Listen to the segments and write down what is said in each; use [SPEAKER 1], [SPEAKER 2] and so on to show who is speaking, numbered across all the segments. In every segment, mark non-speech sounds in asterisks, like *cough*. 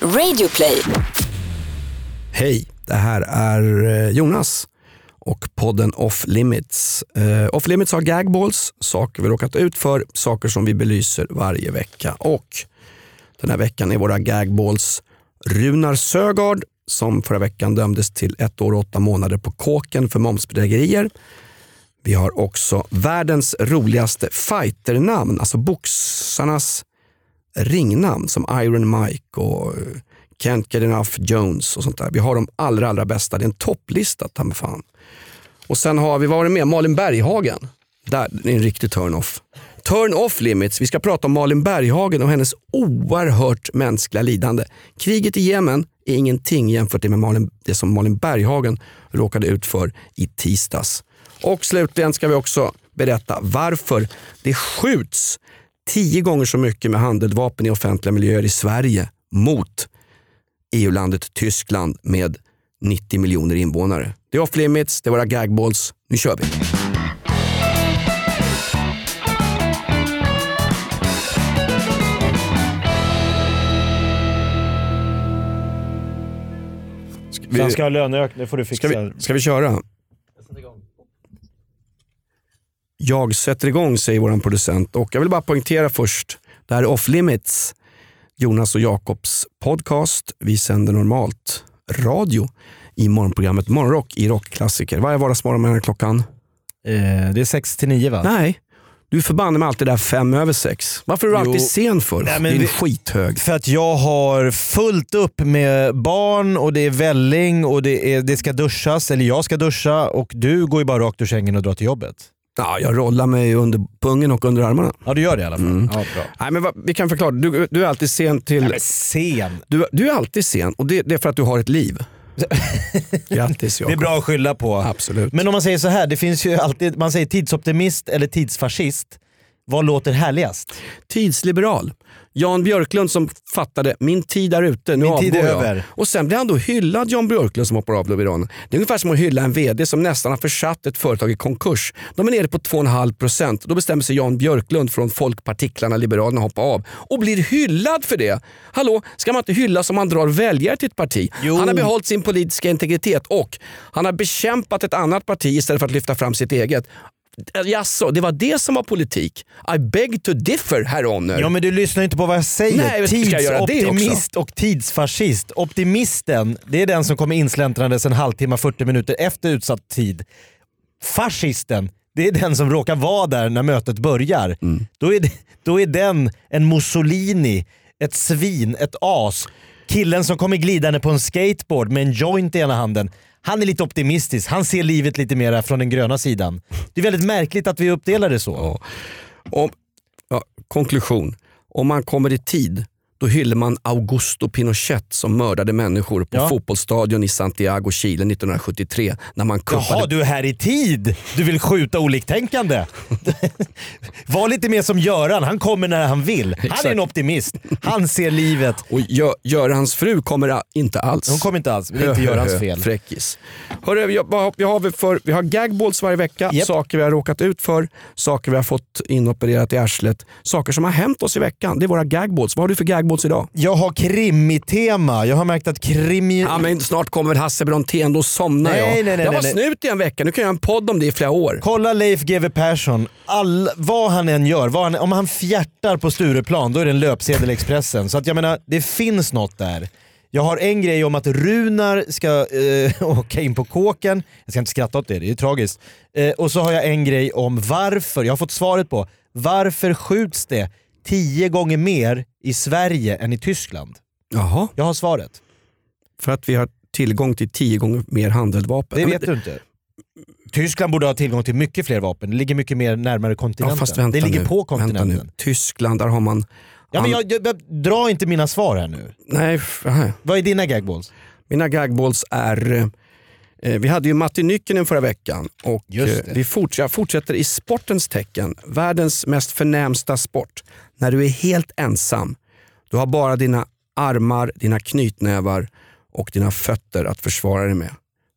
[SPEAKER 1] Radioplay.
[SPEAKER 2] Hej, det här är eh, Jonas och podden Off Limits. Eh, Off Limits har gagballs, saker vi råkat ut för, saker som vi belyser varje vecka. Och den här veckan är våra gagballs Runar Sögaard, som förra veckan dömdes till ett år och åtta månader på kåken för momsbedrägerier. Vi har också världens roligaste fighternamn, alltså boxarnas ringnamn som Iron Mike och eh, Can't Get Enough Jones och sånt där. Vi har de allra, allra bästa. Det är en topplista, ta mig fan. Och sen har vi, vad var det mer? Malin Berghagen. Där, det är en riktig turn-off. Turn-off limits. Vi ska prata om Malin Berghagen och hennes oerhört mänskliga lidande. Kriget i Jemen är ingenting jämfört med Malin, det som Malin Berghagen råkade ut för i tisdags. Och slutligen ska vi också berätta varför det skjuts tio gånger så mycket med handeldvapen i offentliga miljöer i Sverige mot EU-landet E Tyskland med 90 miljoner invånare. Det är off limits, det är våra gagballs. Nu kör vi!
[SPEAKER 3] Vi...
[SPEAKER 2] Vi-
[SPEAKER 3] Sen ska jag ha löneökning, det får du
[SPEAKER 2] Ska
[SPEAKER 3] fixa.
[SPEAKER 2] vi, ska vi köra? Jag sätter igång, säger vår producent. Och jag vill bara poängtera först, det här är Off Limits, Jonas och Jakobs podcast. Vi sänder normalt radio i morgonprogrammet Morgonrock i Rockklassiker. Varje vardagsmorgon mellan klockan?
[SPEAKER 3] Eh, det är 6 till 9 va?
[SPEAKER 2] Nej, du förbannar mig alltid där fem över sex. Varför är du
[SPEAKER 3] Jo.
[SPEAKER 2] alltid sen för?
[SPEAKER 3] Nej, men
[SPEAKER 2] Din
[SPEAKER 3] vi-
[SPEAKER 2] skithög.
[SPEAKER 3] För att jag har fullt upp med barn och det är välling och det, är, det ska duschas, eller jag ska duscha och du går ju bara rakt ur sängen och drar till jobbet.
[SPEAKER 2] Ja, jag rollar mig under pungen och under armarna.
[SPEAKER 3] Ja du gör det i alla fall.
[SPEAKER 2] Mm.
[SPEAKER 3] Ja, bra.
[SPEAKER 2] Nej, men vad- vi kan förklara. Du, du är alltid sen till...
[SPEAKER 3] Nej, men sen.
[SPEAKER 2] Du, du är alltid sen och det, det är för att du har ett
[SPEAKER 3] *laughs*
[SPEAKER 2] liv. Grattis Jakob.
[SPEAKER 3] Det är bra att skylla på.
[SPEAKER 2] Absolut.
[SPEAKER 3] Men om man säger så här, det finns ju alltid, man säger tidsoptimist eller tidsfascist. Vad låter härligast?
[SPEAKER 2] Tidsliberal. Jan Björklund som fattade, min tid är ute, nu
[SPEAKER 3] Min
[SPEAKER 2] avgår
[SPEAKER 3] tid är
[SPEAKER 2] jag.
[SPEAKER 3] över.
[SPEAKER 2] Och sen blir han då hyllad, Jan Björklund som hoppar av Lobbyron. Det är ungefär som att hylla en VD som nästan har försatt ett företag i konkurs. De är nere på 2,5 procent. Då bestämmer sig Jan Björklund från Folkpartiklarna, Liberalerna, hoppa av och blir hyllad för det. Hallå, ska man inte hyllas om man drar väljare till ett parti?
[SPEAKER 3] Jo.
[SPEAKER 2] Han har behållit sin politiska integritet och han har bekämpat ett annat parti istället för att lyfta fram sitt eget. Eh, Jaså, det var det som var politik? I beg to differ, herr Honor.
[SPEAKER 3] Ja men du lyssnar inte på vad jag säger.
[SPEAKER 2] Nej, men ska jag göra det
[SPEAKER 3] Tidsoptimist och tidsfascist. Optimisten, det är den som kommer insläntrandes en halvtimme, 40 minuter efter utsatt tid. Fascisten, det är den som råkar vara där när mötet börjar. Då, är, det- då är den en Mussolini, ett svin, ett as. Killen som kommer glidande på en skateboard med en joint i ena handen. Han är lite optimistisk, han ser livet lite mer från den gröna sidan. Det är väldigt märkligt att vi uppdelar det så.
[SPEAKER 2] Om, ja, konklusion. Om man kommer i tid, då hyllar man Augusto Pinochet som mördade människor på
[SPEAKER 3] Ja.
[SPEAKER 2] fotbollsstadion i Santiago, Chile 1973 när man kuppade...
[SPEAKER 3] Jaha, du är här i tid. Du vill skjuta oliktänkande. *laughs* Var lite mer som Göran. Han kommer när han vill. Han är en optimist. Han ser livet.
[SPEAKER 2] Och Gö- Görans fru kommer a- inte alls.
[SPEAKER 3] Hon kommer inte alls. Det
[SPEAKER 2] *laughs*
[SPEAKER 3] är inte *laughs* Görans fel.
[SPEAKER 2] Fräckis. Hörru, jag, vad, har- vi, har vi, för, vi har gagballs varje vecka,
[SPEAKER 3] Japp.
[SPEAKER 2] saker vi har råkat ut för, saker vi har fått inopererat i arslet, saker som har hänt oss i veckan. Det är våra gagballs. Vad har du för gagballs idag?
[SPEAKER 3] Jag har krimitema. Jag har märkt att krimi...
[SPEAKER 2] Ja, men snart kommer väl Hasse Brontén, då somnar
[SPEAKER 3] Nej,
[SPEAKER 2] jag.
[SPEAKER 3] nej,
[SPEAKER 2] jag
[SPEAKER 3] nej,
[SPEAKER 2] var
[SPEAKER 3] nej, nej.
[SPEAKER 2] snut i en vecka, nu kan jag göra en podd om det i flera år.
[SPEAKER 3] Kolla Leif GW Persson. All, vad han än gör, vad han, om han fjärtar på Stureplan då är det en löpsedel i Expressen. Så att jag menar, det finns något där. Jag har en grej om att Runar ska eh, *laughs* åka in på kåken. Jag ska inte skratta åt det, det är ju tragiskt. Eh, och så har jag en grej om varför, jag har fått svaret på, varför skjuts det tio gånger mer i Sverige än i Tyskland?
[SPEAKER 2] Jaha.
[SPEAKER 3] Jag har svaret.
[SPEAKER 2] För att vi har tillgång till tio gånger mer handeldvapen.
[SPEAKER 3] Det
[SPEAKER 2] Ja, men
[SPEAKER 3] vet du inte. Tyskland borde ha tillgång till mycket fler vapen. Det ligger mycket mer närmare
[SPEAKER 2] Ja,
[SPEAKER 3] kontinenten.
[SPEAKER 2] fast vänta
[SPEAKER 3] det ligger
[SPEAKER 2] nu,
[SPEAKER 3] på kontinenten.
[SPEAKER 2] Vänta nu. Tyskland, där har man...
[SPEAKER 3] Ja, men
[SPEAKER 2] an-
[SPEAKER 3] jag, jag, jag, dra inte mina svar här nu.
[SPEAKER 2] Nej, f- aha.
[SPEAKER 3] Vad är dina gagballs?
[SPEAKER 2] Mina gagballs är... eh, Vi hade ju Matti Nykkinen förra veckan och
[SPEAKER 3] Just
[SPEAKER 2] eh,
[SPEAKER 3] det.
[SPEAKER 2] vi forts- jag fortsätter i sportens tecken. Världens mest förnämsta sport. När du är helt ensam. Du har bara dina armar, dina knytnävar och dina fötter att försvara dig med.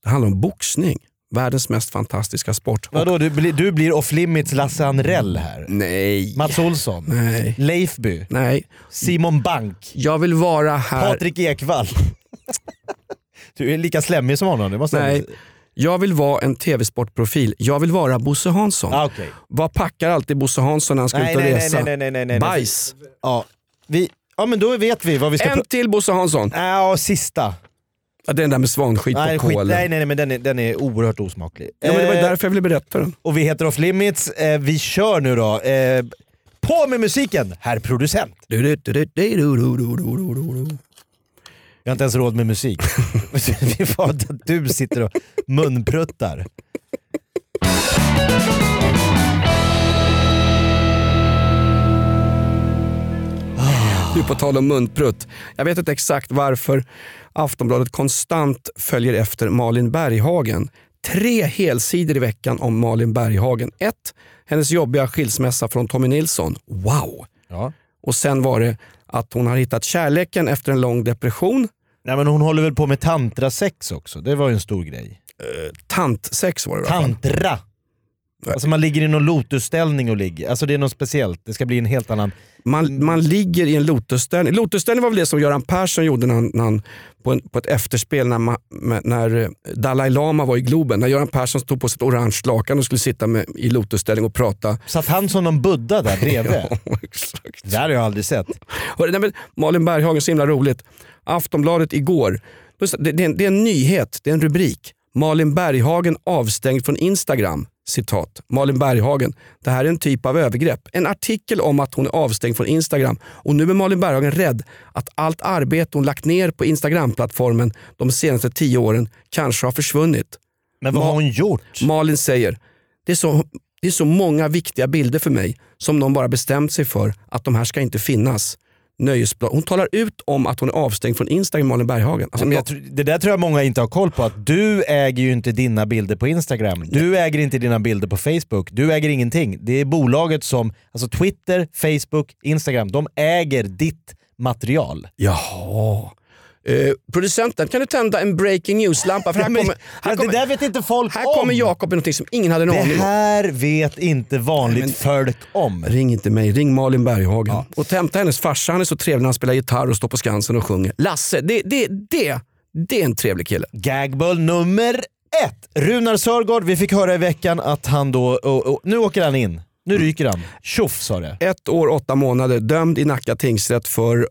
[SPEAKER 2] Det handlar om boxning. Världens mest fantastiska sport. Och,
[SPEAKER 3] Vadå, du, blir- du blir off limits Lasse Anrell här.
[SPEAKER 2] nej,
[SPEAKER 3] Mats Olsson.
[SPEAKER 2] nej,
[SPEAKER 3] Leifby.
[SPEAKER 2] nej.
[SPEAKER 3] Simon Bank.
[SPEAKER 2] Jag vill vara här.
[SPEAKER 3] Patrik *laughs* Ekwall. Du är lika slemmig som honom. Det måste
[SPEAKER 2] Nej. Jag vill vara en tv-sportprofil. Jag vill vara Bosse Hansson.
[SPEAKER 3] Ah, okej.
[SPEAKER 2] Vad packar alltid Bosse Hansson när han ska
[SPEAKER 3] Nej,
[SPEAKER 2] ut och
[SPEAKER 3] nej, nej,
[SPEAKER 2] resa?
[SPEAKER 3] nej, nej, nej, nej, nej.
[SPEAKER 2] Bajs.
[SPEAKER 3] Ja. Vi, ja, men då vet vi vad vi ska...
[SPEAKER 2] En
[SPEAKER 3] pra-
[SPEAKER 2] till Bosse Hansson.
[SPEAKER 3] Ja, sista.
[SPEAKER 2] Ja, den där med svanskit
[SPEAKER 3] Nej,
[SPEAKER 2] på
[SPEAKER 3] skit,
[SPEAKER 2] kolen.
[SPEAKER 3] nej, nej, nej, men den är, den är oerhört osmaklig.
[SPEAKER 2] Ja, men det var ju
[SPEAKER 3] Eh,
[SPEAKER 2] därför jag ville berätta den.
[SPEAKER 3] och vi heter Off Limits. Eh, vi kör nu då. Eh, på med musiken, herr producent.
[SPEAKER 2] Du, du, du, du, du, du, du, du, du, du, du.
[SPEAKER 3] Jag har inte ens råd med musik. vi får att du sitter och munpruttar.
[SPEAKER 2] Du, på tal om munprutt. Jag vet inte exakt varför Aftonbladet konstant följer efter Malin Berghagen. Tre helsidor i veckan om Malin Berghagen. Ett, Hennes jobbiga skilsmässa från Tommy Nilsson. Wow!
[SPEAKER 3] Ja.
[SPEAKER 2] Och sen var det att hon har hittat kärleken efter en lång depression.
[SPEAKER 3] Nej, men hon håller väl på med tantrasex också? Det var ju en stor grej.
[SPEAKER 2] Tantsex var det i alla fall.
[SPEAKER 3] Tantra! Alltså man ligger i någon lotusställning och ligger. Alltså det är något speciellt. Det ska bli en helt annan...
[SPEAKER 2] Man, man ligger i en lotusställning. Lotusställning var väl det som Göran Persson gjorde när han, när han, på, en, på ett efterspel när, ma, med- när eh, Dalai Lama var i Globen. När Göran Persson stod på sitt orange lakan och skulle sitta med, i lotusställning och prata. *laughs*
[SPEAKER 3] Satt han som någon buddha där bredvid?
[SPEAKER 2] Exakt.
[SPEAKER 3] Det här har jag aldrig sett.
[SPEAKER 2] Hörru, nej, men Malin Berghagen, så himla roligt. Aftonbladet igår. Då sa- Det, det, är en- det är en nyhet, det är en rubrik. Malin Berghagen avstängd från Instagram. Citat. Malin Berghagen. Det här är en typ av övergrepp. En artikel om att hon är avstängd från Instagram. Och nu är Malin Berghagen rädd att allt arbete hon lagt ner på Instagram-plattformen de senaste tio åren kanske har försvunnit.
[SPEAKER 3] Men vad har hon gjort?
[SPEAKER 2] Malin säger, det är, så, det är så många viktiga bilder för mig som någon bara bestämt sig för att de här ska inte finnas. Nöjesblad. Hon talar ut om att hon är avstängd från Instagram, Malin Berghagen. Alltså,
[SPEAKER 3] Men jag, tror- det där tror jag många inte har koll på. Att du äger ju inte dina bilder på Instagram. Du äger inte dina bilder på Facebook. Du äger ingenting. Det är bolaget som... Alltså Twitter, Facebook, Instagram. De äger ditt material.
[SPEAKER 2] Jaha. Eh, producenten, kan du tända en breaking news-lampa? För här
[SPEAKER 3] *laughs* Men-
[SPEAKER 2] kommer, här
[SPEAKER 3] ja,
[SPEAKER 2] kommer,
[SPEAKER 3] det där vet inte folk
[SPEAKER 2] här
[SPEAKER 3] om.
[SPEAKER 2] kommer Jakob med någonting som ingen hade en
[SPEAKER 3] det
[SPEAKER 2] aning om.
[SPEAKER 3] här vet inte vanligt folk om.
[SPEAKER 2] Ring inte mig, ring Malin Berghagen. Och hämta hennes farsa, han är så trevlig när han spelar gitarr och står på Skansen och sjunger. Lasse, det, det, det, det är en trevlig kille.
[SPEAKER 3] Gagbull nummer ett. Runar Sörgård, vi fick höra i veckan att han då... och- och- nu åker han in. Nu
[SPEAKER 2] Mm.
[SPEAKER 3] ryker han. Tjoff sa det.
[SPEAKER 2] ett år, åtta månader dömd i Nacka tingsrätt för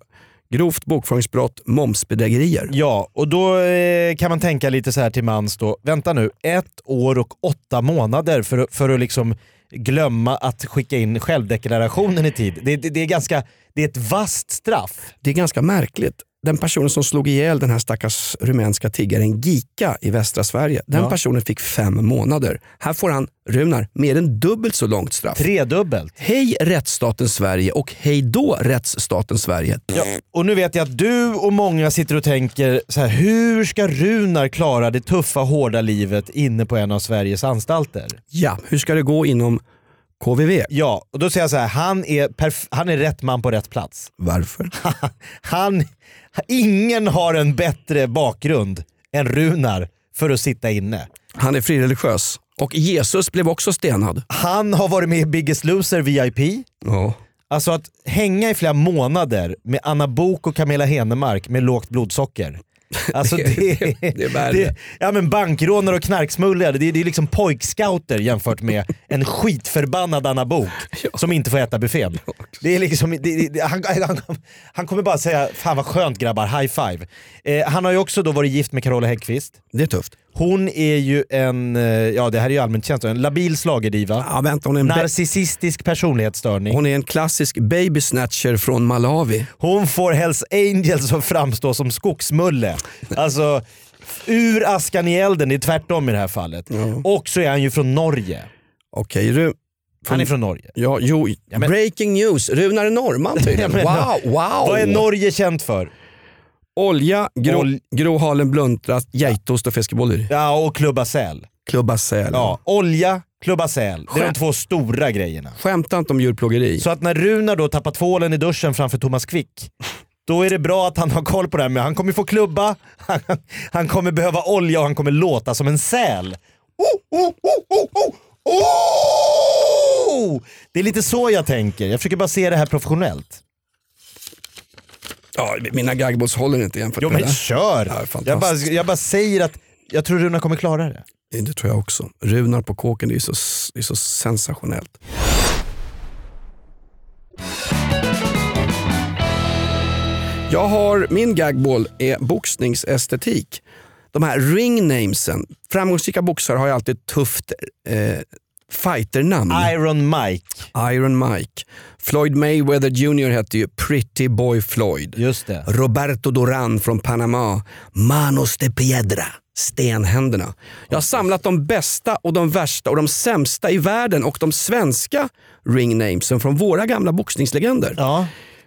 [SPEAKER 2] grovt bokföringsbrott, momsbedrägerier.
[SPEAKER 3] Ja, och då eh, kan man tänka lite så här till mans då. Vänta nu, ett år och åtta månader för, att- för att liksom glömma att skicka in självdeklarationen i tid. Det, det, det är ganska... Det är ett vasst straff.
[SPEAKER 2] Det är ganska märkligt. Den personen som slog ihjäl den här stackars rumänska tiggaren Gika i västra Sverige, den
[SPEAKER 3] Ja.
[SPEAKER 2] personen fick fem månader. Här får han, Runar, mer än dubbelt så långt straff.
[SPEAKER 3] Tredubbelt.
[SPEAKER 2] Hej rättsstaten Sverige och hej då rättsstaten Sverige.
[SPEAKER 3] Ja, och nu vet jag att du och många sitter och tänker så här, hur ska Runar klara det tuffa hårda livet inne på en av Sveriges anstalter?
[SPEAKER 2] Ja, hur ska det gå inom KVV?
[SPEAKER 3] Ja, och då säger jag så här, han är, perf- han är rätt man på rätt plats.
[SPEAKER 2] Varför?
[SPEAKER 3] Han, ingen har en bättre bakgrund än Runar för att sitta inne.
[SPEAKER 2] Han är frireligiös. Och Jesus blev också stenad.
[SPEAKER 3] Han har varit med i Biggest Loser VIP.
[SPEAKER 2] Ja.
[SPEAKER 3] Alltså att hänga i flera månader med Anna Bok och Camilla Henemark med lågt blodsocker.
[SPEAKER 2] *laughs*
[SPEAKER 3] Alltså
[SPEAKER 2] Det-
[SPEAKER 3] det,
[SPEAKER 2] det är värre.
[SPEAKER 3] ja men bankrånare och knarksmugglare, det, är- det är liksom pojkscouter jämfört med en skitförbannad
[SPEAKER 2] *laughs*
[SPEAKER 3] Anna Bok som inte får äta buffén. Det är liksom, det, det- det, han, han, han kommer bara säga “Fan vad skönt grabbar, high five”. Eh, han har ju också då varit gift med Carola Häggkvist.
[SPEAKER 2] Det är tufft.
[SPEAKER 3] Hon är ju en, eh, ja det här är ju allmänt känt, en labil schlagerdiva.
[SPEAKER 2] Ja, vänta, hon är en bä-
[SPEAKER 3] Narcissistisk personlighetsstörning.
[SPEAKER 2] Hon är en klassisk baby snatcher från Malawi.
[SPEAKER 3] Hon får Hells Angels att framstå som skogsmulle. Alltså, ur askan i elden. Det är tvärtom i det här fallet. Och så är han ju från Norge.
[SPEAKER 2] Okej, Ru-
[SPEAKER 3] Han är från Norge.
[SPEAKER 2] ja, jo,
[SPEAKER 3] men-
[SPEAKER 2] breaking news. Runar är norrman tydligen.
[SPEAKER 3] *laughs* Ja, men-
[SPEAKER 2] wow, wow.
[SPEAKER 3] Vad är Norge känt för?
[SPEAKER 2] Olja, gro,
[SPEAKER 3] Ol-
[SPEAKER 2] Gro Harlem Brundtland, geitost och fiskebollar.
[SPEAKER 3] Ja, och klubba säl.
[SPEAKER 2] Klubba säl.
[SPEAKER 3] Ja, olja, klubba säl. Det är de
[SPEAKER 2] Skämt.
[SPEAKER 3] två stora grejerna.
[SPEAKER 2] Skämta inte om djurplågeri.
[SPEAKER 3] Så att när Runar då tappar tvålen i duschen framför Thomas Quick, då är det bra att han har koll på det här med han kommer få klubba, han, han kommer behöva olja och han kommer låta som en säl. oh, oh, oh, oh, oh, oh! Det är lite så jag tänker. Jag försöker bara se det här professionellt.
[SPEAKER 2] Ja, mina gagballs håller inte jämfört
[SPEAKER 3] Jo
[SPEAKER 2] med
[SPEAKER 3] men
[SPEAKER 2] det där.
[SPEAKER 3] kör!
[SPEAKER 2] Ja, fantastiskt.
[SPEAKER 3] jag, bara, jag bara säger att jag tror Runa kommer klara det.
[SPEAKER 2] Det tror jag också. Runar på kåken, det är ju så, det är så sensationellt. Jag har, min gagball är boxningsestetik. De här ringnamesen, framgångsrika boxare har ju alltid ett tufft eh, fighternamn.
[SPEAKER 3] Iron Mike.
[SPEAKER 2] Iron Mike. Floyd Mayweather Jr hette ju Pretty Boy Floyd.
[SPEAKER 3] Just det.
[SPEAKER 2] Roberto Duran från Panama. Manos de Piedra. Stenhänderna. Jag har samlat de bästa och de värsta och de sämsta i världen och de svenska ringnamesen från våra gamla boxningslegender.
[SPEAKER 3] Ja.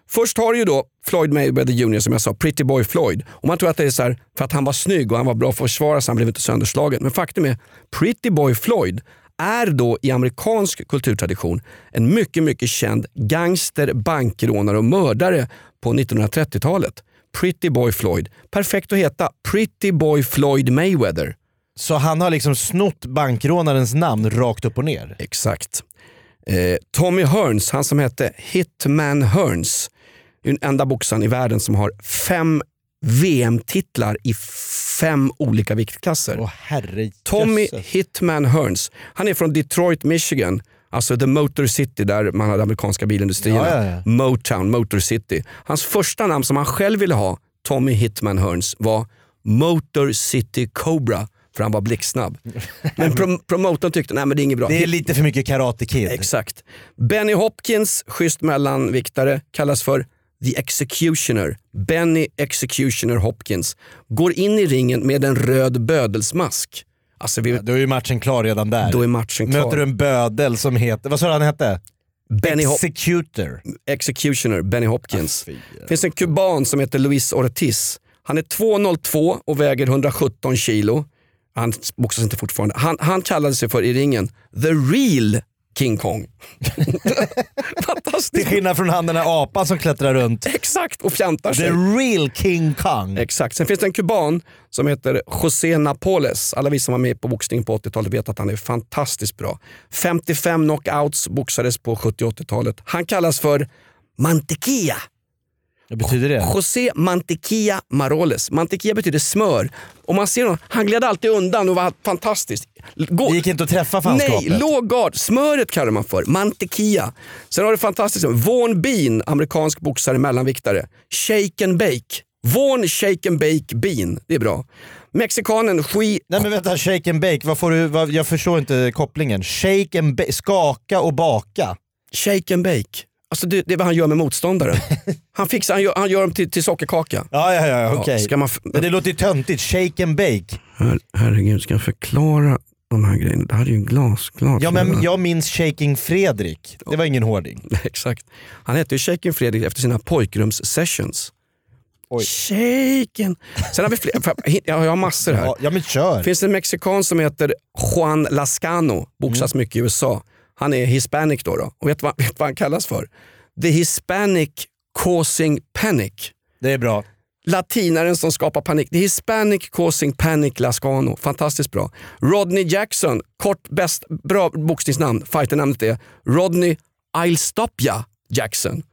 [SPEAKER 2] Först har du ju då Floyd Mayweather Jr som jag sa, Pretty Boy Floyd. Och man tror att det är så här, för att han var snygg och han var bra för att försvara sig, han blev inte sönderslagen. Men faktum är, Pretty Boy Floyd är då i amerikansk kulturtradition en mycket, mycket känd gangster, bankrånare och mördare på 1930-talet. Pretty Boy Floyd. Perfekt att heta Pretty Boy Floyd Mayweather.
[SPEAKER 3] Så han har liksom snott bankrånarens namn rakt upp och ner.
[SPEAKER 2] Exakt. Eh, Tommy Hearns, han som hette Hitman Hearns, är den enda boxaren i världen som har fem VM-titlar i fem olika viktklasser.
[SPEAKER 3] Åh herre
[SPEAKER 2] Tommy
[SPEAKER 3] jösses.
[SPEAKER 2] Hitman Hearns, han är från Detroit, Michigan. Alltså the Motor City där man hade amerikanska bilindustrierna.
[SPEAKER 3] Ja, ja, ja.
[SPEAKER 2] Motown, Motor City. Hans första namn som han själv ville ha, Tommy Hitman Hearns, var Motor City Cobra. För han var
[SPEAKER 3] *laughs*
[SPEAKER 2] blixtsnabb. Men prom- promotorn tyckte, nej men det är inget bra.
[SPEAKER 3] Det är lite för mycket Karate Kid.
[SPEAKER 2] Exakt. Benny Hopkins, schysst mellanviktare, kallas för The Executioner. Benny Executioner Hopkins. Går in i ringen med en röd bödelsmask. Alltså, vi,
[SPEAKER 3] Då är ju matchen klar redan där.
[SPEAKER 2] då är matchen klar.
[SPEAKER 3] Möter du en bödel som heter, vad sa du han hette?
[SPEAKER 2] Benny Hop-
[SPEAKER 3] Executor.
[SPEAKER 2] Executioner, Benny
[SPEAKER 3] Ah,
[SPEAKER 2] Hopkins. Det finns en kuban som heter Luis Ortiz. Han är 2,02 och väger 117 kilo. Han boxas inte fortfarande. Han, han kallade sig för i ringen The Real King
[SPEAKER 3] *laughs*
[SPEAKER 2] Kong. *laughs*
[SPEAKER 3] Till
[SPEAKER 2] Fantastiskt.
[SPEAKER 3] skillnad från han den där apan som klättrar runt.
[SPEAKER 2] Exakt, och fjantar sig.
[SPEAKER 3] The real King Kong.
[SPEAKER 2] Exakt. Sen finns det en kuban som heter José Napoles. Alla vi som var med på boxning på 80-talet vet att han är fantastiskt bra. 55 knockouts boxades på 70 och 80-talet. Han kallas för Mantequilla.
[SPEAKER 3] Vad betyder det?
[SPEAKER 2] José Mantequilla Maroles. Mantequilla betyder smör. Och man ser honom, han gled alltid undan och var fantastisk. Gå-
[SPEAKER 3] Det gick inte att träffa fanskapet.
[SPEAKER 2] Nej, låg gard. Smöret kallar man för. Mantequilla. Sen har du fantastiskt Vaughn Bean, amerikansk boxare, mellanviktare. Shake and bake. Vaughn Shake and bake Bean. Det är bra. Mexikanen Ski...
[SPEAKER 3] Nej men vänta, shake and bake, vad får du, vad, jag förstår inte kopplingen. Shake and bake, skaka och baka.
[SPEAKER 2] Shake and bake. Alltså det, det är vad han gör med
[SPEAKER 3] *laughs*
[SPEAKER 2] motståndaren. Han, fixar, han, gör, han gör dem till, till sockerkaka.
[SPEAKER 3] Ja, ja, ja,
[SPEAKER 2] Ja,
[SPEAKER 3] okej.
[SPEAKER 2] ska man f-
[SPEAKER 3] Men det låter ju töntigt, shake and bake.
[SPEAKER 2] Her, herregud, ska jag förklara de här grejerna? Det här är ju glasklart. *laughs*
[SPEAKER 3] Ja, men jag minns Shaking Fredrik. Det var ingen hårding.
[SPEAKER 2] Exakt. Han hette ju Shaken Fredrik efter sina pojkrums-sessions.
[SPEAKER 3] Oj.
[SPEAKER 2] Shaken. Sen har vi fler. fan, Jag har massor här.
[SPEAKER 3] Ja, ja men kör.
[SPEAKER 2] Det finns en mexikan som heter Juan Lascano, boxas
[SPEAKER 3] Mm.
[SPEAKER 2] mycket i USA. Han är hispanic då. då. Och vet du vad, *laughs* vet vad han kallas för? The Hispanic Causing Panic.
[SPEAKER 3] Det är bra.
[SPEAKER 2] Latinaren som skapar panik. The Hispanic Causing Panic Lascano. Fantastiskt bra. Rodney Jackson, kort bäst, bra boxningsnamn. Fighternamnet är Rodney I'll Stop Ya Jackson.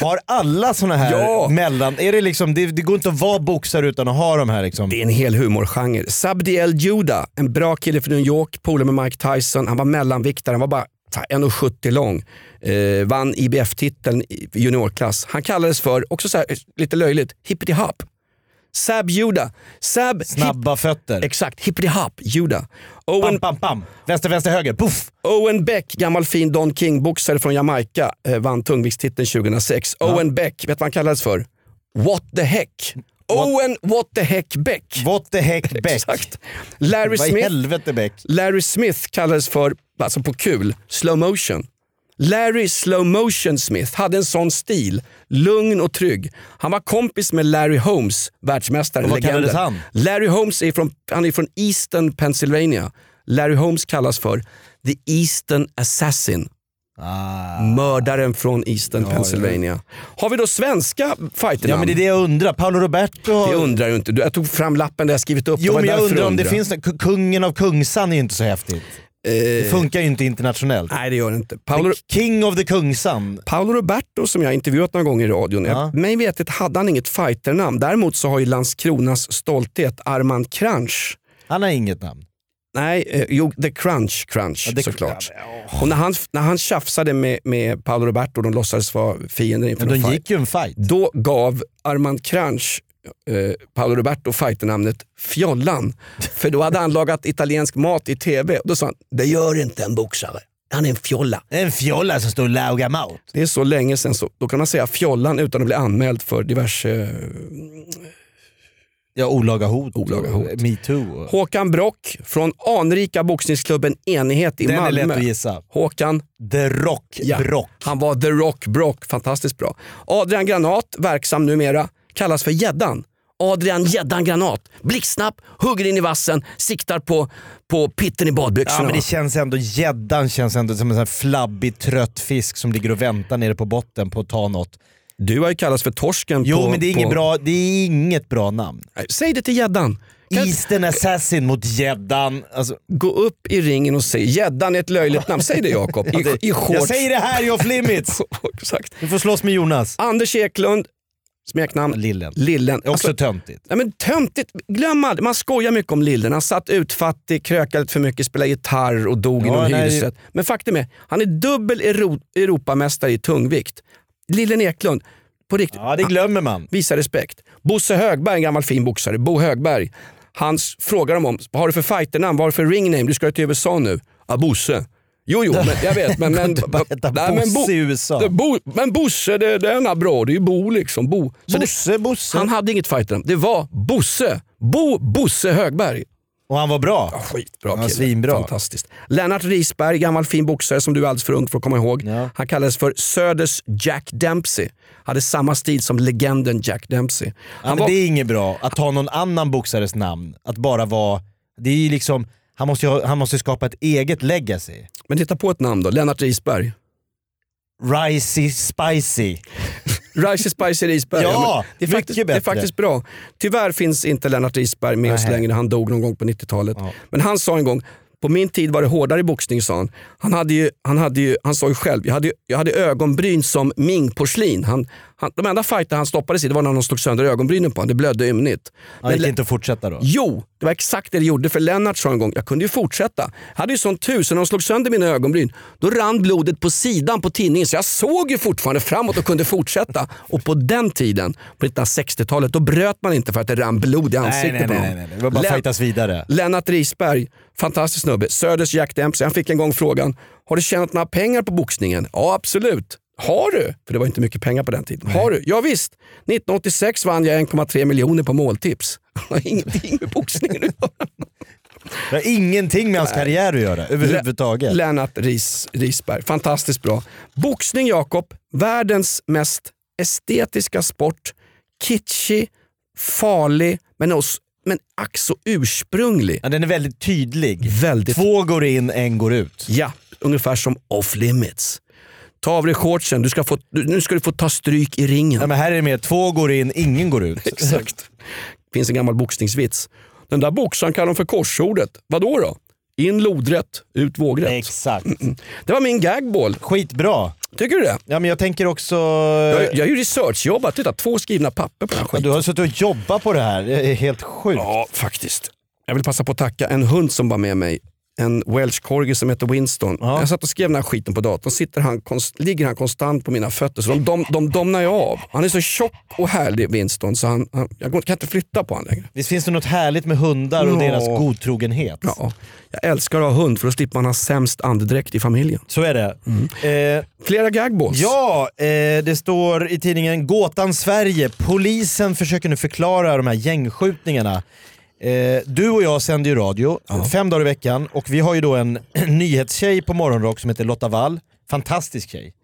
[SPEAKER 3] Har alla såna här
[SPEAKER 2] Ja.
[SPEAKER 3] mellan... Är det, liksom, det, det går inte att vara boxare utan att ha de här liksom.
[SPEAKER 2] Det är en hel humorgenre. Sabdiel Juda, en bra kille från New York, polare med Mike Tyson. Han var mellanviktare, han var bara fan, 1,70 lång. Eh, vann IBF-titeln i juniorklass. Han kallades för, också så här, eh, lite löjligt, Hippity Hop. Sab Juda. Sab... Hip,
[SPEAKER 3] Snabba fötter.
[SPEAKER 2] exakt, Hippity Hop Juda. Owen,
[SPEAKER 3] Pam, pam, pam. Vänster, vänster, höger. Puff!
[SPEAKER 2] Owen Beck, gammal fin Don King-boxare från Jamaica, eh, vann tungviktstiteln 2006. Owen Beck, vet du vad han kallades för? What the heck? Owen What the heck Beck.
[SPEAKER 3] What the heck
[SPEAKER 2] *laughs*
[SPEAKER 3] Beck?
[SPEAKER 2] Exakt. Larry
[SPEAKER 3] Vad i
[SPEAKER 2] Smith,
[SPEAKER 3] helvete Beck?
[SPEAKER 2] Larry Smith kallades för, alltså på kul, slow motion. Larry Slow Motion Smith hade en sån stil, lugn och trygg. Han var kompis med Larry Holmes, världsmästaren,
[SPEAKER 3] Och vad kallades
[SPEAKER 2] legenden.
[SPEAKER 3] han?
[SPEAKER 2] Larry Holmes är från, han är från Eastern Pennsylvania. Larry Holmes kallas för the Eastern Assassin.
[SPEAKER 3] Ah.
[SPEAKER 2] Mördaren från Eastern Pennsylvania. Har vi då svenska fighternamn?
[SPEAKER 3] Ja men det är det jag undrar. Paolo Roberto har...
[SPEAKER 2] Det undrar ju inte du. Jag tog fram lappen där jag skrivit upp.
[SPEAKER 3] Jo
[SPEAKER 2] var
[SPEAKER 3] men jag
[SPEAKER 2] därför
[SPEAKER 3] undrar om det
[SPEAKER 2] undrade.
[SPEAKER 3] finns någon- Kungen av Kungsan är ju inte så häftigt. Det funkar ju inte internationellt.
[SPEAKER 2] Nej det gör det inte. Eh. Ah, Paolo,
[SPEAKER 3] King of the Kungsan.
[SPEAKER 2] Paolo Roberto som jag intervjuat några gånger i radion,
[SPEAKER 3] Ja.
[SPEAKER 2] jag, mig vetet hade han inget fighternamn. Däremot så har ju Landskronas stolthet Armand Crunch
[SPEAKER 3] Han har inget namn.
[SPEAKER 2] Nej, eh, jo, The Crunch Crunch
[SPEAKER 3] Ja, The-
[SPEAKER 2] såklart. Och när han, när han tjafsade med, med Paolo Roberto och de låtsades vara fiender inför
[SPEAKER 3] Men
[SPEAKER 2] någon
[SPEAKER 3] de
[SPEAKER 2] fight,
[SPEAKER 3] gick ju en fight.
[SPEAKER 2] då gav Armand Crunch eh, Paolo Roberto fighternamnet Fjollan. För då hade han lagat italiensk mat i tv och då sa han, det gör inte en boxare, han är en fjolla.
[SPEAKER 3] En fjolla som står och laugar mat.
[SPEAKER 2] Det är så länge sedan, så då kan man säga Fjollan utan att bli anmäld för diverse... eh,
[SPEAKER 3] Ja, olaga hot.
[SPEAKER 2] Olaga hot.
[SPEAKER 3] Metoo.
[SPEAKER 2] Håkan Brock från anrika boxningsklubben Enighet i
[SPEAKER 3] Den är
[SPEAKER 2] Malmö.
[SPEAKER 3] lätt att gissa.
[SPEAKER 2] Håkan,
[SPEAKER 3] The Rock
[SPEAKER 2] Ja.
[SPEAKER 3] Brock.
[SPEAKER 2] Han var The Rock Brock, fantastiskt bra. Adrian Granat, verksam numera, kallas för Gäddan. Adrian Gäddan Granat. Blixtsnabb, hugger in i vassen, siktar på, på pitten i badbyxorna.
[SPEAKER 3] Ja, men
[SPEAKER 2] va?
[SPEAKER 3] det känns ändå, gäddan känns ändå som en sån här flabbig trött fisk som ligger och väntar nere på botten på att ta något.
[SPEAKER 2] Du har ju kallats för torsken
[SPEAKER 3] Jo
[SPEAKER 2] på...
[SPEAKER 3] men det är, inget
[SPEAKER 2] på...
[SPEAKER 3] bra, det är inget bra namn.
[SPEAKER 2] Nej, Säg det till gäddan. Kan du
[SPEAKER 3] Eastern Assassin mot gäddan. Alltså,
[SPEAKER 2] Gå upp i ringen och säg gäddan är ett löjligt namn. Säg det Jakob. I, i shorts.
[SPEAKER 3] jag säger det här, jag
[SPEAKER 2] *laughs*
[SPEAKER 3] har limits!
[SPEAKER 2] Exakt.
[SPEAKER 3] *laughs* Du får slåss med Jonas.
[SPEAKER 2] Anders Eklund, smeknamn
[SPEAKER 3] Lillen.
[SPEAKER 2] Lillen.
[SPEAKER 3] Det är också
[SPEAKER 2] Alltså,
[SPEAKER 3] töntigt.
[SPEAKER 2] Nej, men töntigt, glöm aldrig. Man skojar mycket om Lillen. Han satt utfattig, krökade lite för mycket, spelade gitarr och dog i
[SPEAKER 3] Ja,
[SPEAKER 2] någon
[SPEAKER 3] nej.
[SPEAKER 2] hyresrätt. Men faktum är, han är dubbel Euro- Europamästare i tungvikt. Lillen Eklund, på riktigt,
[SPEAKER 3] Ja, det glömmer man.
[SPEAKER 2] visa respekt. Bosse Högberg, en gammal fin boxare, Bo Högberg. Han s- frågar dem om, vad har du för fighternamn, vad har du för ringname, du ska ju till USA nu. Ja, Bosse. Jo, jo, men, jag vet.
[SPEAKER 3] *laughs*
[SPEAKER 2] Men, men,
[SPEAKER 3] bara heta
[SPEAKER 2] Nej, men,
[SPEAKER 3] Bosse i
[SPEAKER 2] Bo,
[SPEAKER 3] USA.
[SPEAKER 2] det, bo, men Bosse, det, det är bra. Det är ju Bo liksom. Bo. Så det-
[SPEAKER 3] Bosse, Bosse.
[SPEAKER 2] han hade inget fighternamn. Det var Bosse. Bo Bosse Högberg.
[SPEAKER 3] Och han var bra.
[SPEAKER 2] Skitbra
[SPEAKER 3] Ja, svinbra.
[SPEAKER 2] Fantastiskt. Lennart Risberg, gammal fin boxare som du är alldeles för ung för att komma ihåg.
[SPEAKER 3] Ja.
[SPEAKER 2] Han kallades för Söders Jack Dempsey. Hade samma stil som legenden Jack Dempsey.
[SPEAKER 3] Ja,
[SPEAKER 2] Han
[SPEAKER 3] men
[SPEAKER 2] var,
[SPEAKER 3] det är inget bra att ta någon annan boxares namn. Att bara vara... Det är ju liksom... Han måste ju ha, han måste ju skapa ett eget legacy.
[SPEAKER 2] Men titta på ett namn då, Lennart Risberg.
[SPEAKER 3] Ricey Spicy.
[SPEAKER 2] Rice Spicy Risberg.
[SPEAKER 3] Ja,
[SPEAKER 2] men det, är
[SPEAKER 3] mycket
[SPEAKER 2] faktiskt, det är
[SPEAKER 3] bättre.
[SPEAKER 2] faktiskt bra. Tyvärr finns inte Lennart Risberg med oss
[SPEAKER 3] Nähä.
[SPEAKER 2] längre. Han dog någon gång på 90-talet. Men han sa en gång, på min tid var det hårdare i boxning sa han. Han, hade ju, han, hade ju, han sa ju själv, jag hade, ju- jag hade ögonbryn som mingporslin. Han, han, de enda fighter han stoppades i det var när någon slog sönder ögonbrynen på honom. Det blödde ymnigt.
[SPEAKER 3] Han gick
[SPEAKER 2] Men-
[SPEAKER 3] inte att fortsätta då.
[SPEAKER 2] Jo, det var exakt det det gjorde. För Lennart sa en gång, jag kunde ju fortsätta. Jag hade ju sån tur så när de slog sönder mina ögonbryn, då rann blodet på sidan på tinningen. Så jag såg ju fortfarande framåt och kunde fortsätta. Och på den tiden, på 1960-talet, då bröt man inte för att det rann blod i
[SPEAKER 3] Nej,
[SPEAKER 2] ansiktet
[SPEAKER 3] nej, nej,
[SPEAKER 2] på
[SPEAKER 3] nej,
[SPEAKER 2] någon.
[SPEAKER 3] nej. Det var bara
[SPEAKER 2] Len-
[SPEAKER 3] fightas vidare.
[SPEAKER 2] Lennart Risberg, fantastisk snubbe. Söders Jack Dempsey. Han fick en gång frågan, har du tjänat några pengar på boxningen? Ja, absolut. Har du? För det var inte mycket pengar på den tiden. Har du? Ja, visst. 1986 vann jag 1,3 miljoner på måltips. *laughs* Det har ingenting med boxningen att göra.
[SPEAKER 3] Det har ingenting med hans karriär att göra *laughs* överhuvudtaget.
[SPEAKER 2] Lennart Ris, Risberg, fantastiskt bra. Boxning Jakob, världens mest estetiska sport. Kitschig, farlig, men, också, men ack så ursprunglig.
[SPEAKER 3] Ja, den är väldigt tydlig.
[SPEAKER 2] Väldigt
[SPEAKER 3] Två går in, en går ut.
[SPEAKER 2] Ja, ungefär som off limits. Ta av dig shortsen, du ska få, du- nu ska du få ta stryk i ringen.
[SPEAKER 3] Ja, men här är det mer två går in, ingen går
[SPEAKER 2] *laughs*
[SPEAKER 3] ut.
[SPEAKER 2] Exakt. finns en gammal boxningsvits. Den där boxaren kallar de för korsordet. Vadå då? In lodrätt, ut vågrätt.
[SPEAKER 3] Exakt.
[SPEAKER 2] Det var min gagball.
[SPEAKER 3] Skitbra.
[SPEAKER 2] Tycker du det?
[SPEAKER 3] Ja, men jag tänker också...
[SPEAKER 2] Jag, jag är ju researchjobbat. Titta, två skrivna papper på den här
[SPEAKER 3] Ja,
[SPEAKER 2] skiten.
[SPEAKER 3] Du har suttit och jobbat på det här. Det är helt sjukt.
[SPEAKER 2] Ja, faktiskt. Jag vill passa på att tacka en hund som var med mig. En welsh corgi som heter Winston. Jag satt och skrev den här skiten på datorn. Sitter han konst, ligger han konstant på mina fötter så de, de, de domnar jag av. Han är så tjock och härlig Winston så han, han, jag går- kan inte flytta på honom längre.
[SPEAKER 3] Visst finns det något härligt med hundar och
[SPEAKER 2] Ja.
[SPEAKER 3] deras godtrogenhet?
[SPEAKER 2] Ja, jag älskar att ha hund för då slipper man ha sämst andedräkt i familjen.
[SPEAKER 3] Så är det.
[SPEAKER 2] Mm.
[SPEAKER 3] Eh,
[SPEAKER 2] Flera gagballs.
[SPEAKER 3] ja, eh, det står i tidningen Gåtan Sverige. Polisen försöker nu förklara de här gängskjutningarna. Eh, du och jag sänder ju radio fem dagar i veckan och vi har ju då en *clears throat* nyhetstjej på Morgonrock som heter Lotta Wall. Fantastisk tjej.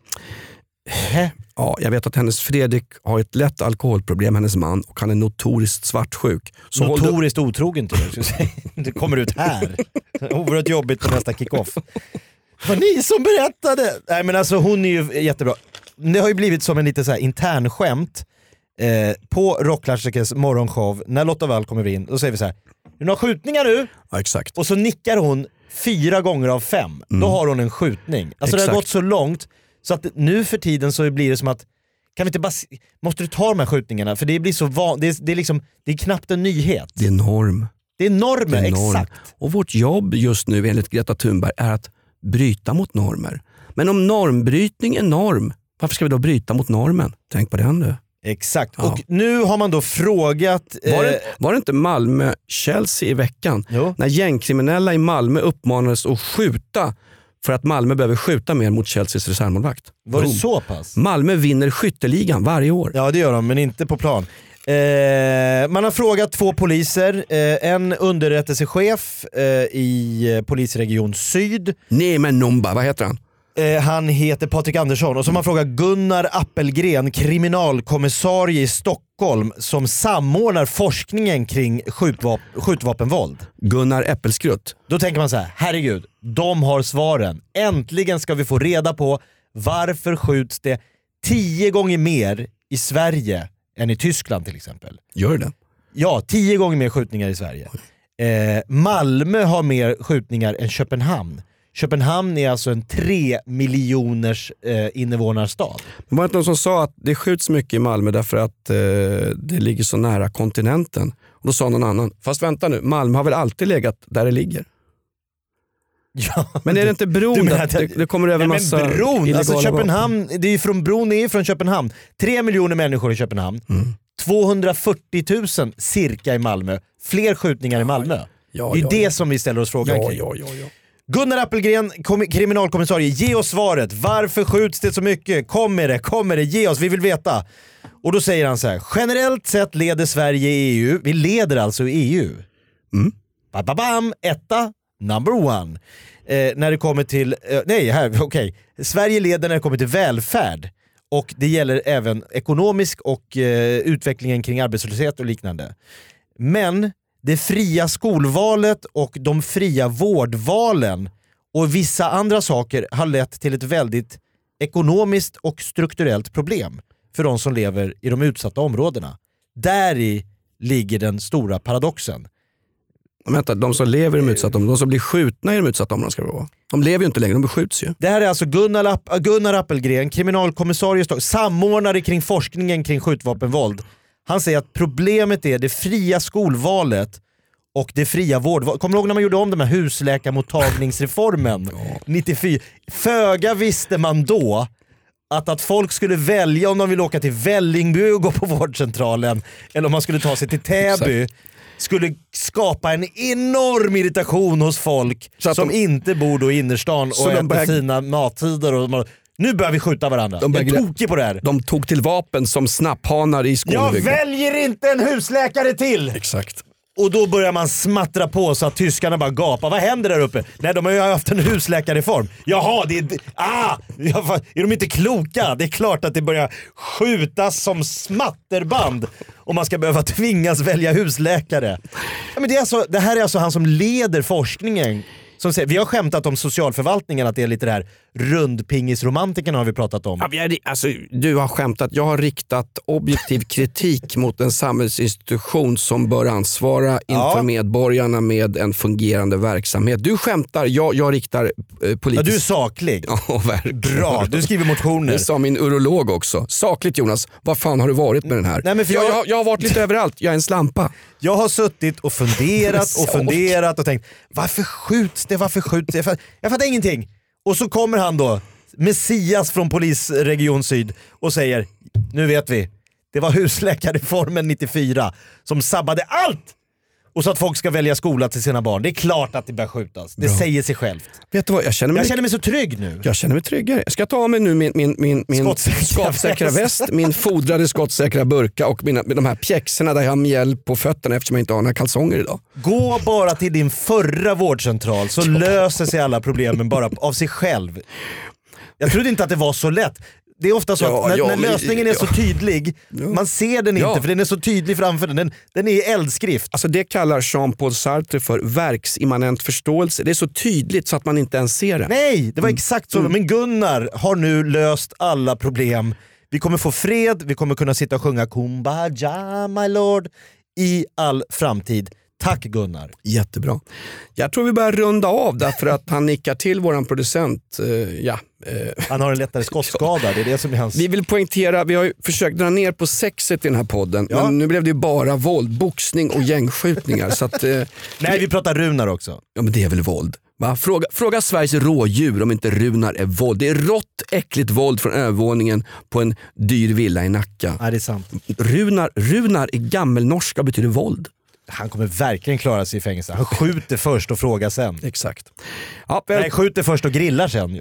[SPEAKER 2] Ja, jag vet att hennes Fredrik har ett lätt alkoholproblem, hennes man, och han är notoriskt svartsjuk. Så håll dig-
[SPEAKER 3] Notoriskt otrogen till dig. Det kommer ut här. Oerhört jobbigt på nästa kickoff. Det var ni som berättade! Nej men alltså hon är ju jättebra. Det har ju blivit som en lite så här internskämt eh, på rockklassikers morgonshow när Lotta Wall kommer in. Då säger vi så här. "Är det några skjutningar nu?
[SPEAKER 2] Ja, exakt.
[SPEAKER 3] Och så nickar hon fyra gånger av fem. Då har hon en skjutning. Alltså det har
[SPEAKER 2] Mm. Exakt.
[SPEAKER 3] gått så långt så att nu för tiden så blir det som att kan vi inte bara, s- måste du ta de här skjutningarna? För det blir så van, det, är, det, är liksom, det är knappt en nyhet.
[SPEAKER 2] Det är norm.
[SPEAKER 3] Det är normer,
[SPEAKER 2] Det är norm.
[SPEAKER 3] exakt.
[SPEAKER 2] Och vårt jobb just nu enligt Greta Thunberg är att bryta mot normer. Men om normbrytning är norm, varför ska vi då bryta mot normen? Tänk på den du.
[SPEAKER 3] Exakt.
[SPEAKER 2] Ja.
[SPEAKER 3] Och nu har man då frågat...
[SPEAKER 2] Var
[SPEAKER 3] eh,
[SPEAKER 2] det, var det inte Malmö-Chelsea i veckan?
[SPEAKER 3] Jo.
[SPEAKER 2] När gängkriminella i Malmö uppmanades att skjuta för att Malmö behöver skjuta mer mot Chelseas reservmålvakt.
[SPEAKER 3] Var det
[SPEAKER 2] Boom.
[SPEAKER 3] så pass?
[SPEAKER 2] Malmö vinner skytteligan varje år.
[SPEAKER 3] Ja det gör de, men inte på plan. Eh, man har frågat två poliser, eh, en underrättelsechef eh, i eh, polisregion syd.
[SPEAKER 2] Nej men Numba, vad heter han?
[SPEAKER 3] Eh, han heter Patrik Andersson och så har man frågat Gunnar Appelgren, kriminalkommissarie i Stockholm som samordnar forskningen kring skjutvap- skjutvapenvåld.
[SPEAKER 2] Gunnar Äppelskrutt.
[SPEAKER 3] Då tänker man så här, herregud, de har svaren. Äntligen ska vi få reda på varför skjuts det tio gånger mer i Sverige än i Tyskland till exempel.
[SPEAKER 2] Gör det?
[SPEAKER 3] Ja, tio gånger mer skjutningar i Sverige. Eh, Malmö har mer skjutningar än Köpenhamn. Köpenhamn är alltså en tre miljoners eh, invånarstad.
[SPEAKER 2] Var det inte någon som sa att det skjuts mycket i Malmö därför att eh, det ligger så nära kontinenten? Och Då sa någon annan, fast vänta nu, Malmö har väl alltid legat där det ligger?
[SPEAKER 3] Ja,
[SPEAKER 2] Men är det inte bron
[SPEAKER 3] du menar
[SPEAKER 2] där?
[SPEAKER 3] att-
[SPEAKER 2] det, det kommer över
[SPEAKER 3] Nej,
[SPEAKER 2] massa
[SPEAKER 3] men bron,
[SPEAKER 2] illegala
[SPEAKER 3] alltså
[SPEAKER 2] vapen.
[SPEAKER 3] Köpenhamn, det är ju från, bron är ju från Köpenhamn. Tre miljoner människor i Köpenhamn.
[SPEAKER 2] Mm.
[SPEAKER 3] 240 000 cirka i Malmö. Fler skjutningar i Malmö.
[SPEAKER 2] Ja,
[SPEAKER 3] det är
[SPEAKER 2] ja,
[SPEAKER 3] det
[SPEAKER 2] ja.
[SPEAKER 3] som vi ställer oss frågan
[SPEAKER 2] Ja,
[SPEAKER 3] kring.
[SPEAKER 2] ja, ja, ja.
[SPEAKER 3] Gunnar Appelgren, kom- kriminalkommissarie, ge oss svaret. Varför skjuts det så mycket? Kom med det, kom med det, ge oss, vi vill veta. Och då säger han så här, generellt sett leder Sverige i EU. Vi leder alltså i EU. Ba, ba, bam, etta, number one. Eh, när det kommer till, eh, nej, här, *laughs* okej. Sverige leder när det kommer till välfärd. Och det gäller även ekonomisk och eh, utvecklingen kring arbetslöshet och liknande. Men det fria skolvalet och de fria vårdvalen och vissa andra saker har lett till ett väldigt ekonomiskt och strukturellt problem för de som lever i de utsatta områdena. Där i ligger den stora paradoxen.
[SPEAKER 2] Men Vänta, de som lever i de utsatta områdena, de som blir skjutna i de utsatta områdena ska det vara. De lever ju inte längre, de beskjuts ju.
[SPEAKER 3] Det här är alltså Gunnar, App Gunnar Appelgren, kriminalkommissarie i Stockholm, samordnare kring forskningen kring skjutvapenvåld. Han säger att problemet är det fria skolvalet och det fria vårdvalet. Kommer du ihåg när man gjorde om den här husläkarmottagningsreformen 94? Föga visste man då att, att folk skulle välja om de vill åka till Vällingby och gå på vårdcentralen eller om man skulle ta sig till Täby skulle skapa en enorm irritation hos folk
[SPEAKER 2] Så att
[SPEAKER 3] som
[SPEAKER 2] de-
[SPEAKER 3] inte bor då i innerstan och
[SPEAKER 2] Så de
[SPEAKER 3] äter
[SPEAKER 2] börjar-
[SPEAKER 3] fina mattider. Och man, nu börjar vi skjuta varandra.
[SPEAKER 2] De börjar
[SPEAKER 3] jag är
[SPEAKER 2] glä-
[SPEAKER 3] tokig på det här.
[SPEAKER 2] De tog till vapen som snapphanar i
[SPEAKER 3] Jag
[SPEAKER 2] skolbygden.
[SPEAKER 3] väljer inte en husläkare till!
[SPEAKER 2] Exakt.
[SPEAKER 3] Och då börjar man smattra på så att tyskarna bara gapar. Vad händer där uppe? Nej, de har ju haft en husläkarreform. Jaha, det är... Ah! Ja, fan, Är de inte kloka? Det är klart att det börjar skjutas som smatterband om man ska behöva *laughs* tvingas välja husläkare. Ja, men det, är alltså, det här är alltså han som leder forskningen. Som säger, vi har skämtat om socialförvaltningen, att det är lite det här rundpingisromantikerna har vi pratat om.
[SPEAKER 2] Ja, men jag- Alltså, du har skämtat. Jag har riktat objektiv kritik *laughs* mot en samhällsinstitution som bör ansvara inför medborgarna med en fungerande verksamhet. Du skämtar, jag, jag riktar eh,
[SPEAKER 3] Ja, du är
[SPEAKER 2] politiskt...
[SPEAKER 3] saklig.
[SPEAKER 2] *laughs* Ja, verkligen.
[SPEAKER 3] Bra, du skriver motioner.
[SPEAKER 2] Det sa min urolog också. Sakligt Jonas, vad fan har du varit med den här?
[SPEAKER 3] Nej, men för
[SPEAKER 2] jag...
[SPEAKER 3] jag-
[SPEAKER 2] Jag, jag har varit
[SPEAKER 3] *laughs*
[SPEAKER 2] lite överallt, jag är en slampa.
[SPEAKER 3] Jag har suttit och funderat och
[SPEAKER 2] Sak.
[SPEAKER 3] funderat och tänkt varför skjuts det, varför skjuts det? Jag fattar, jag fattar ingenting. Och så kommer han då, Messias från polisregion syd och säger nu vet vi, det var husläkarreformen 94 som sabbade allt! Och så att folk ska välja skola till sina barn. Det är klart att det börjar skjutas. Det säger sig självt.
[SPEAKER 2] Vet du vad, jag känner mig,
[SPEAKER 3] Jag känner mig så trygg nu.
[SPEAKER 2] jag känner mig tryggare. Jag ska ta av mig nu min, min, min, min
[SPEAKER 3] Skottsäkra
[SPEAKER 2] *laughs* skottsäkra
[SPEAKER 3] väst.
[SPEAKER 2] väst, min fodrade skottsäkra burka och mina, de här pjäxorna där jag har mjäll på fötterna eftersom jag inte har några kalsonger idag.
[SPEAKER 3] Gå bara till din förra
[SPEAKER 2] *laughs*
[SPEAKER 3] vårdcentral så löser sig alla problemen bara av sig själv. Jag trodde inte att det var så lätt. det är ofta så
[SPEAKER 2] Ja,
[SPEAKER 3] att när,
[SPEAKER 2] ja,
[SPEAKER 3] när
[SPEAKER 2] men-
[SPEAKER 3] lösningen är så
[SPEAKER 2] ja.
[SPEAKER 3] tydlig, man ser den inte
[SPEAKER 2] Ja.
[SPEAKER 3] för den är så tydlig framför den. Den, den är i eldskrift.
[SPEAKER 2] Alltså det kallar Jean-Paul Sartre för verksimmanent förståelse. Det är så tydligt så att man inte ens ser det.
[SPEAKER 3] Nej, det var
[SPEAKER 2] Mm.
[SPEAKER 3] exakt så. Men Gunnar har nu löst alla problem. Vi kommer få fred, vi kommer kunna sitta och sjunga Kumbaya my lord i all framtid. Tack Gunnar.
[SPEAKER 2] Jättebra. Jag tror vi börjar runda av därför att han nickar till våran producent. Eh, ja. eh,
[SPEAKER 3] Han har
[SPEAKER 2] *laughs*
[SPEAKER 3] en lättare skottskada, det är det som är hans...
[SPEAKER 2] Vi vill poängtera, vi har ju försökt dra ner på sexet i den här podden,
[SPEAKER 3] Ja.
[SPEAKER 2] men nu blev det ju bara våld, boxning och gängskjutningar. så att, eh,
[SPEAKER 3] Nej, vi pratar Runar också.
[SPEAKER 2] ja, men det är väl våld? Va? Fråga, fråga Sveriges rådjur om inte Runar är våld. Det är rått, äckligt våld från övervåningen på en dyr villa i Nacka.
[SPEAKER 3] Nej, det är sant.
[SPEAKER 2] Runar, runar i gammelnorska och betyder våld.
[SPEAKER 3] Han kommer verkligen klara sig i fängelse. Han skjuter först och frågar sen.
[SPEAKER 2] Exakt. Ja, väl,
[SPEAKER 3] Nej, skjuter först och grillar sen. ju.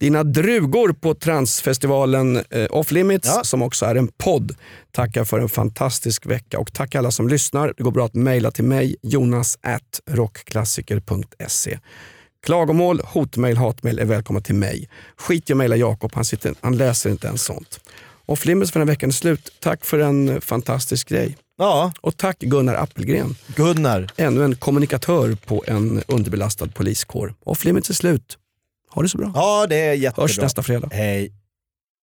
[SPEAKER 2] dina drugor på transfestivalen eh, Off Limits
[SPEAKER 3] Ja.
[SPEAKER 2] som också är en podd tackar för en fantastisk vecka och tack alla som lyssnar. Det går bra att mejla till mig, jonas at rockklassiker.se. Klagomål, hotmail, hatmail är välkomna till mig. Skit i att mejla Jakob, han, sitter- han läser inte ens sånt. Off Limits för den här veckan är slut. Tack för en eh, fantastisk grej.
[SPEAKER 3] Ja,
[SPEAKER 2] Och tack Gunnar Appelgren.
[SPEAKER 3] Gunnar.
[SPEAKER 2] ännu en kommunikatör på en underbelastad poliskår. Off limits är slut. Ha det så bra.
[SPEAKER 3] Ja, det är jättebra.
[SPEAKER 2] Hörs nästa fredag.
[SPEAKER 3] Hej.